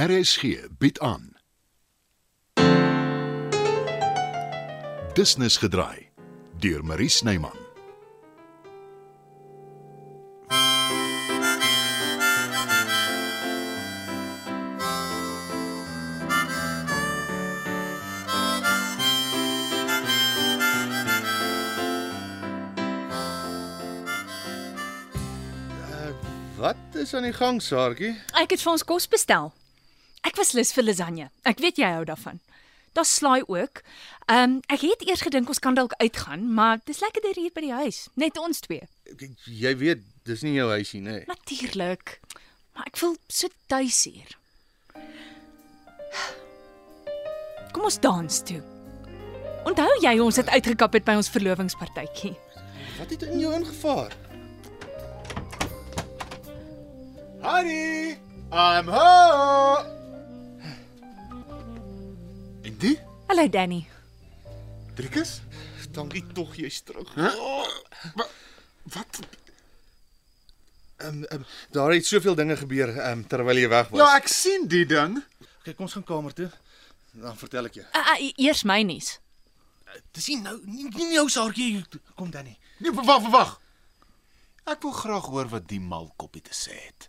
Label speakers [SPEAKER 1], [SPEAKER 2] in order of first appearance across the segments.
[SPEAKER 1] RSG bied aan. Business gedraai deur Marie Snyman.
[SPEAKER 2] Eh, Wat is aan die gang, Saartjie?
[SPEAKER 3] Ek het vir ons kos bestel. Ek was lus vir lasagne. Ek weet jy hou daarvan. Daar's slaai ook. Ehm um, ek het eers gedink ons kan dalk uitgaan, maar dis lekkerder hier by die huis, net ons twee.
[SPEAKER 2] K- Jy weet, dis nie jou huisie nee. nie.
[SPEAKER 3] Natuurlik. Maar ek voel so tuis hier. Kom ons dans toe. Onthou jy ons het uitgekap het by ons verlovingspartytjie?
[SPEAKER 2] Wat het in jou ingevaar? Honey, I'm home.
[SPEAKER 4] En die?
[SPEAKER 3] Hallo Danny.
[SPEAKER 4] Driekus?
[SPEAKER 2] Dankie tog jy's terug.
[SPEAKER 4] Wat?
[SPEAKER 2] Ehm um, um, daar het soveel dinge gebeur ehm um, terwyl jy weg was.
[SPEAKER 4] Ja, ek sien die ding.
[SPEAKER 2] kyk, ons gaan kamer toe. Dan vertel ek jou.
[SPEAKER 3] Uh, uh, eers my nuus.
[SPEAKER 5] Dis nie nou nie, nie nou saartjie kom dan nie.
[SPEAKER 4] Nee, wa- wag, wag. Ek wil graag hoor wat die mal koppie te sê het.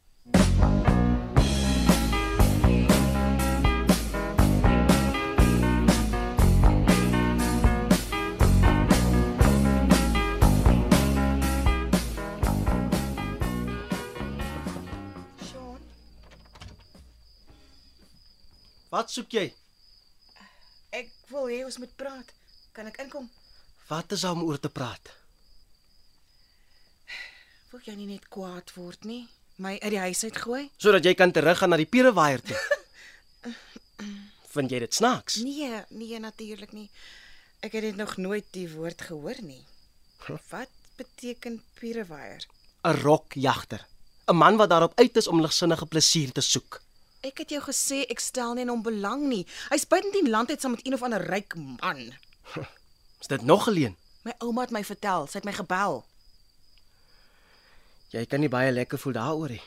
[SPEAKER 5] Wat soek jy?
[SPEAKER 6] Ek wil hê ons moet praat. Kan ek inkom?
[SPEAKER 5] Wat is daar om oor te praat?
[SPEAKER 6] Wil jy nie net kwaad word nie? My uit die huis uitgooi?
[SPEAKER 5] Sodat jy kan teruggaan na die pierewaaier toe. Vind jy dit snaaks?
[SPEAKER 6] Nee, nee natuurlik nie. Ek het dit nog nooit die woord gehoor nie. Wat beteken pierewaier?
[SPEAKER 5] 'n Rokjagter. 'n Man wat daarop uit is om ligsinnige plesier te soek.
[SPEAKER 6] Ek het jou gesê ek stel nie in hom belang nie. Hy's buitendien land uit saam met een of ander ryk man.
[SPEAKER 5] Is dit nog geleen?
[SPEAKER 6] My ouma het my vertel, sy het my gebel.
[SPEAKER 5] Jy kan nie baie lekker voel daaroor nie.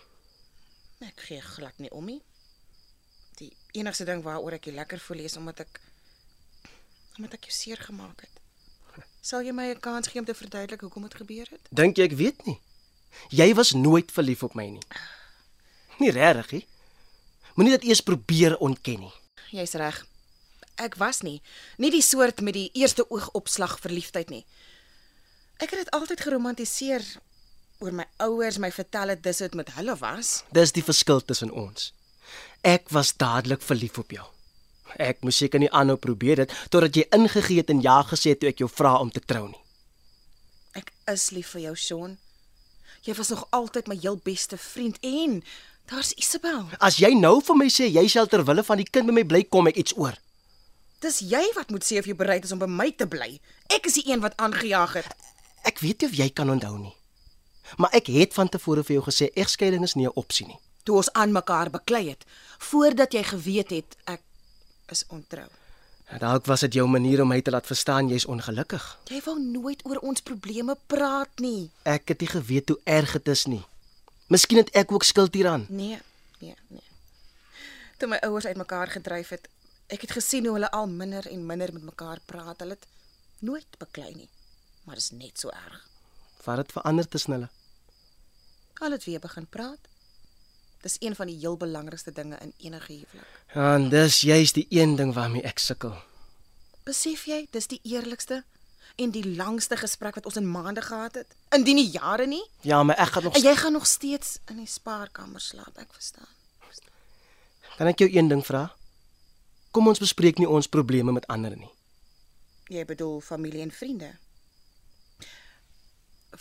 [SPEAKER 6] Ek gee glad nie om nie. Die enigste ding waaroor ek nie lekker voel is omdat ek omdat ek jou seer gemaak het. Sal jy my 'n kans gee om te verduidelik hoekom dit gebeur het?
[SPEAKER 5] Dink jy ek weet nie? Jy was nooit verlief op my nie. Nie regtig nie. Moenie dit eers probeer ontken nie.
[SPEAKER 6] Jy's reg. Ek was nie nie die soort met die eerste oogopslag verliefdheid nie. Ek het dit altyd geromantiseer oor my ouers my vertel het dis hoe dit met hulle was.
[SPEAKER 5] Dis die verskil tussen ons. Ek was dadelik verlief op jou. Ek moes seker nie aanhou probeer dit totdat jy ingegee het en ja gesê het toe ek jou vra om te trou nie.
[SPEAKER 6] Ek is lief vir jou, Sean. Jy was nog altyd my heel beste vriend en daar's Isabel.
[SPEAKER 5] As jy nou vir my sê jy sal ter wille van die kind by my bly kom ek iets oor.
[SPEAKER 6] Dis jy wat moet sê of jy bereid is om by my te bly. Ek is die een wat aangejaag het.
[SPEAKER 5] Ek weet nie of jy kan onthou nie. Maar ek het van tevore vir jou gesê egskeiding is nie 'n opsie nie.
[SPEAKER 6] Toe ons aan mekaar beklei het, voordat jy geweet het ek is ontrou.
[SPEAKER 5] Dalk was dit jou manier om my te laat verstaan jy's ongelukkig.
[SPEAKER 6] Jy wou nooit oor ons probleme praat nie.
[SPEAKER 5] Ek het nie geweet hoe erg dit is nie. Miskien het ek ook skuld hieraan.
[SPEAKER 6] Nee, nee, nee. Toe my ouers uitmekaar gedryf het, ek het gesien hoe hulle al minder en minder met mekaar praat. Hulle het nooit beklei nie. Maar dit is net so erg.
[SPEAKER 5] Wat het verander tussen hulle?
[SPEAKER 6] Hulle het weer begin praat. Dis een van die heel belangrikste dinge in enige huwelik.
[SPEAKER 5] En dis juist die een ding waarmee ek sukkel.
[SPEAKER 6] Besef jy, dis die eerlikste en die langste gesprek wat ons in maande gehad het, indien nie jare nie.
[SPEAKER 5] Ja, maar ek gaan nog
[SPEAKER 6] En jy gaan nog steeds in die spaarkamer slaap, ek verstaan.
[SPEAKER 5] Kan ek jou een ding vra? Kom ons bespreek nie ons probleme met ander nie.
[SPEAKER 6] Jy bedoel familie en vriende.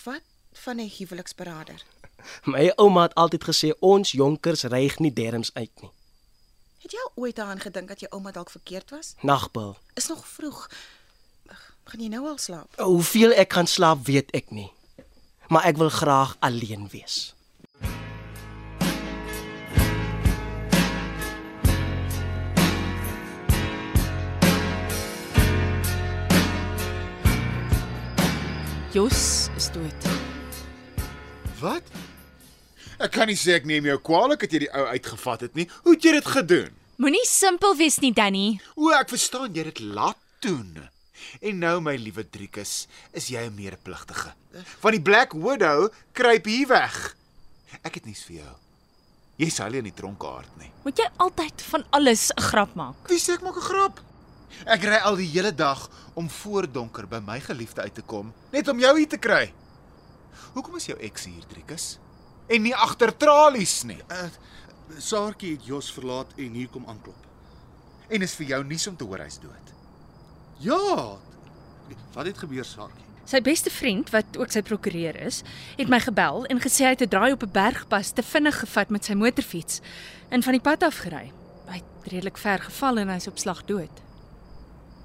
[SPEAKER 6] Wat van 'n huweliksberader?
[SPEAKER 5] My ouma het altyd gesê ons jonkers reig nie derms uit nie.
[SPEAKER 6] Het jy al ooit daaraan gedink dat jou ouma dalk verkeerd was?
[SPEAKER 5] Nagbul.
[SPEAKER 6] Is nog vroeg. Ag, Gaan jy nou al slaap?
[SPEAKER 5] Hoeveel ek gaan slaap weet ek nie. Maar ek wil graag alleen wees.
[SPEAKER 3] Jos is dood.
[SPEAKER 2] Wat?
[SPEAKER 4] Ek kan nie sê ek neem jou kwaadlik dat jy die ou uitgevat het nie. Hoe het jy dit gedoen?
[SPEAKER 3] Moenie simpel wees nie, Danny.
[SPEAKER 4] O, ek verstaan jy het dit laat doen. En nou my liewe Driekus, is jy 'n medepligtige. Van die Black Widow kruip hier weg. Ek het nuus vir jou. Jy sal nie in die tronk aard nee. nie.
[SPEAKER 3] Moet jy altyd van alles 'n grap maak?
[SPEAKER 4] Wie sê ek maak 'n grap? Ek ry al die hele dag om voor donker by my geliefde uit te kom, net om jou hier te kry. Hoekom is jou ex hier, Driekus? En nie agter tralies nie.
[SPEAKER 2] Uh, Saartjie het Jos verlaat en hier kom aanklop.
[SPEAKER 4] En is vir jou nuus om te hoor hy's dood.
[SPEAKER 2] Ja. Wat het gebeur, Saartjie?
[SPEAKER 3] Sy beste vriend wat ook sy prokureur is, het my gebel en gesê hy het 'n draai op 'n bergpas te vinnig gevat met sy motorfiets en van die pad af gery. Hy het redelik ver geval en hy's op slag dood.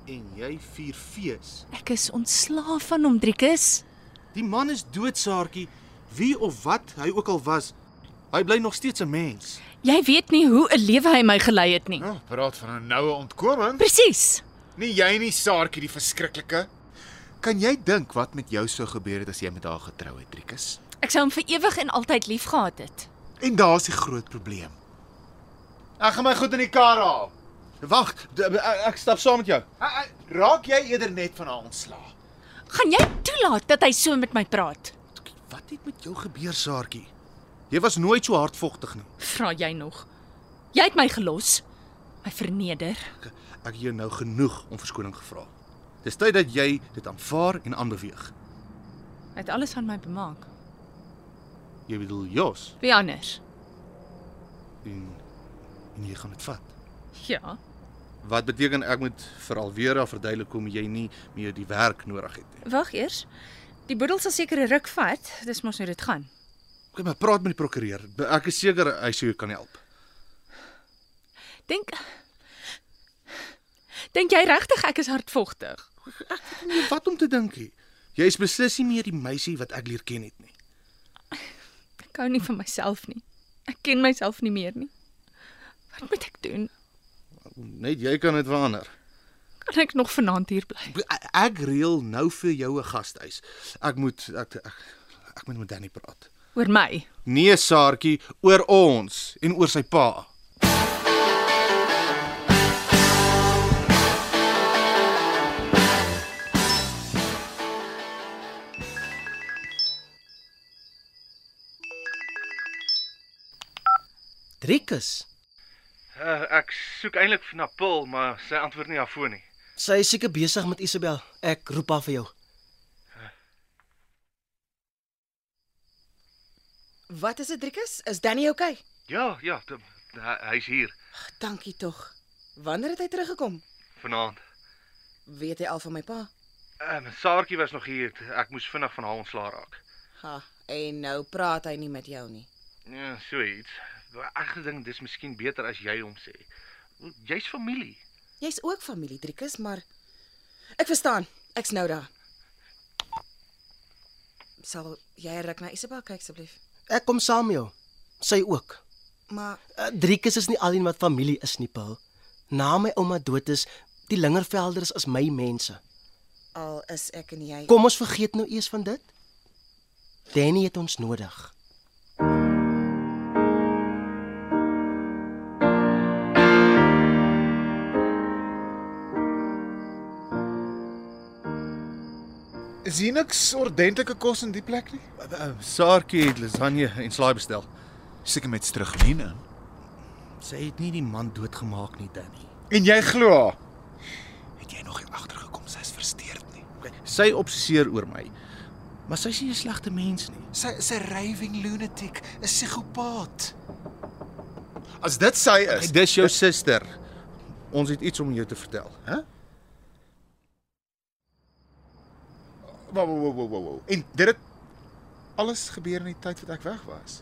[SPEAKER 2] En jy vier fees.
[SPEAKER 3] Ek is ontslaaf van hom, Driekus.
[SPEAKER 2] Die man is dood, Saartjie. Wie of wat hy ook al was, hy bly nog steeds 'n mens.
[SPEAKER 3] Jy weet nie hoe 'n lewe hy my gelei het nie.
[SPEAKER 4] Nou, praat van 'n noue ontkoming.
[SPEAKER 3] Presies.
[SPEAKER 4] Nie jy nie, Saartjie die verskriklike. Kan jy dink wat met jou sou gebeur het as jy met haar getrou het, Driekus?
[SPEAKER 3] Ek sou hom vir ewig en altyd liefgehad het.
[SPEAKER 4] En daar's die groot probleem. Ek gaan my goed in die kar haal.
[SPEAKER 2] Wag, d- ek- ek stap saam met jou.
[SPEAKER 4] Ek- ek- Raak jy eerder net van haar ontslaa?
[SPEAKER 3] Gaan jy toelaat dat hy so met my praat?
[SPEAKER 2] Wat het met jou gebeur, Saartjie? Jy was nooit so hardvogtig nie.
[SPEAKER 3] Vra jy nog? Jy het my gelos. My verneder.
[SPEAKER 2] Ek ek het jou nou genoeg om verskoning gevra. Dis tyd dat jy dit aanvaar en aanbeweeg.
[SPEAKER 3] Hy het alles aan my bemaak.
[SPEAKER 2] Jy bedoel Jos
[SPEAKER 3] Wie anders?
[SPEAKER 2] en en jy gaan dit vat.
[SPEAKER 3] Ja.
[SPEAKER 2] Wat beteken ek moet vir Alvera verduidelik hoekom jy nie meer die werk nodig het nie.
[SPEAKER 3] Wag eers. Die boedel sal seker 'n ruk vat. Dis mos nou dit gaan.
[SPEAKER 2] Kom maar praat met die prokureur. Ek is seker hy sou jou kan help.
[SPEAKER 3] Dink Dink jy regtig ek is hardvogtig?
[SPEAKER 2] Nee, wat om te dink hier? Jy is beslis nie meer die meisie wat ek leer ken het nie.
[SPEAKER 3] Ek hou nie van myself nie. Ek ken myself nie meer nie. Wat moet ek doen?
[SPEAKER 2] Net jy kan dit verander.
[SPEAKER 3] Kan ek nog vanaand hier bly?
[SPEAKER 2] Ek- Ek reël nou vir jou 'n gasthuis. Ek moet ek ek, ek moet met Danny praat.
[SPEAKER 3] Oor my.
[SPEAKER 2] Nee, Saartjie, oor ons en oor sy pa.
[SPEAKER 5] Driekus.
[SPEAKER 2] Uh, ek soek eintlik na Pil, maar sy antwoord nie haar foon nie.
[SPEAKER 5] Sy is seker besig met Isabel. Ek roep haar vir jou.
[SPEAKER 6] Wat is dit, Driekus? Is Danny oukei? Okay?
[SPEAKER 2] Ja, ja, t- hy- hy's hier
[SPEAKER 6] Dankie tog. Wanneer het hy teruggekom?
[SPEAKER 2] vanaand.
[SPEAKER 6] Weet hy al van my pa?
[SPEAKER 2] Ehm um, Saartjie was nog hier. Ek moes vinnig van haar ontslaa raak.
[SPEAKER 6] Ha, en nou praat hy nie met jou nie.
[SPEAKER 2] Ja, so iets. Ek gedink dis miskien beter as jy hom sê. Jy's familie.
[SPEAKER 6] Jy's ook familie Driekus, maar ek verstaan. Ek's nou daar. Sal jy ruk na Isabel kyk asseblief?
[SPEAKER 5] Ek kom saam met jou. Sy ook.
[SPEAKER 6] Maar
[SPEAKER 5] Uh, Driekus is nie alleen wat familie is nie, Paul. Na my ouma dood is, die Lingervelders is my mense.
[SPEAKER 6] al is ek en jy
[SPEAKER 5] Kom ons vergeet nou eers van dit. Danny het ons nodig.
[SPEAKER 4] Is hier niks ordentlike kos in die plek nie?
[SPEAKER 2] Eh, Saartjie het lasagne en slaai bestel.
[SPEAKER 4] Seker met strugmien in.
[SPEAKER 2] Sy het nie die man doodgemaak nie, Danny.
[SPEAKER 4] En jy glo haar? Het jy nog nie agtergekom sy's versteurd nie?
[SPEAKER 2] Sy obseseer oor my. Maar sy's nie 'n slegte mens nie.
[SPEAKER 4] Sy is 'n raving lunatic, 'n psigopaat. As dit sy is,
[SPEAKER 2] Dis jou suster. Ons het iets om jou te vertel.
[SPEAKER 4] wow wow wow wow. wow. En dit het alles gebeur in die tyd wat ek weg was.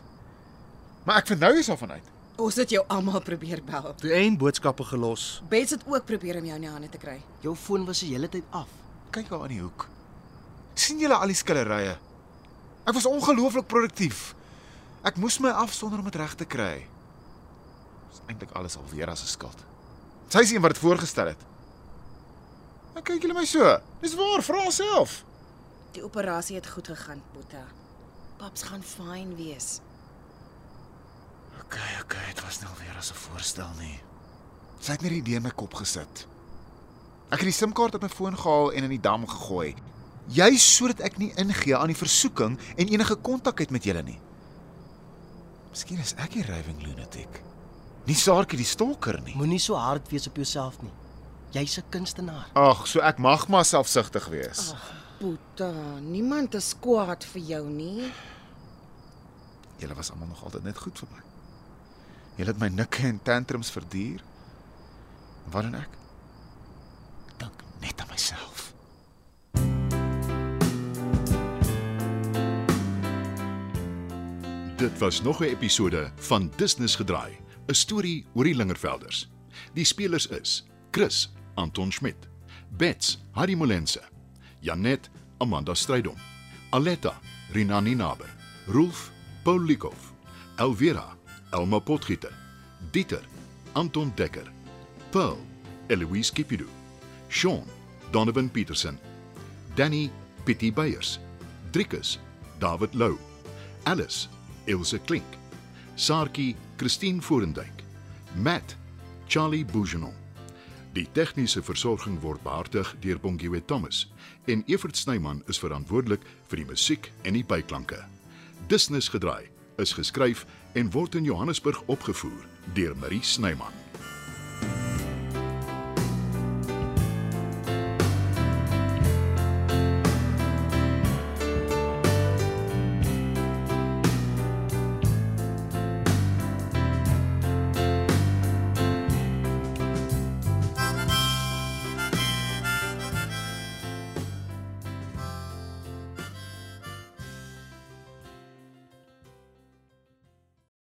[SPEAKER 4] Maar ek vernou is daarvan uit.
[SPEAKER 6] ons het jou almal probeer bel.
[SPEAKER 2] Toe een boodskappe gelos.
[SPEAKER 6] Bets het ook probeer om jou in die hande te kry.
[SPEAKER 5] Jou foon was die hele tyd af.
[SPEAKER 4] Kyk daar in die hoek. sien julle al die skillerye? Ek was ongelooflik produktief. Ek moes my afsonder om dit reg te kry. Dis eintlik alles alweer as 'n skuld. Sy is een wat dit voorgestel het. Ek kyk julle my so. Dis waar, vra self.
[SPEAKER 6] Die operasie het goed gegaan, Boeta. Paps gaan fyn wees.
[SPEAKER 4] Okay, okay, dit was nou weer as 'n voorstel nie. Sy het net die idee in my kop gesit. Ek het die SIM-kaart uit my foon gehaal en in die dam gegooi. Juis sodat ek nie ingee aan die versoeking en enige kontak het met julle nie. Miskien is ek die raving lunatic. Nie Saartjie die stalker nie.
[SPEAKER 5] Moenie so hard wees op jouself nie. Jy's 'n kunstenaar.
[SPEAKER 4] Ag, so ek mag maar selfsugtig wees.
[SPEAKER 6] Boeta, niemand is kwaad vir jou nie.
[SPEAKER 4] Julle was almal nog altyd net goed vir my. Julle het my nikke en tantrums verduur. En Wat doen ek? Dink net aan myself.
[SPEAKER 1] Dit was nog 'n episode van Business gedraai, 'n storie oor die Lingervelders. Die spelers is: Chris Anton Schmidt, Bets Harry Molense, Janet Amanda Strydom, Aletta Rinani Naber, Rolf Paul Likoff, Elvira Elma Potgieter, Dieter Anton Dekker, Pearl Eloise Kipidu, Sean Donovan Petersen, Danny Pietie Beyers, Driekus David Lou, Alice Ilse Klink, Saartjie Christine Forendyk, Matt Charlie Bougenon. Die tegniese versorging word behartig deur Bongwe Thomas en Evert Snyman is verantwoordelik vir die musiek en die byklanke. Dusnus gedraai is geskryf en word in Johannesburg opgevoer deur Marie Snyman.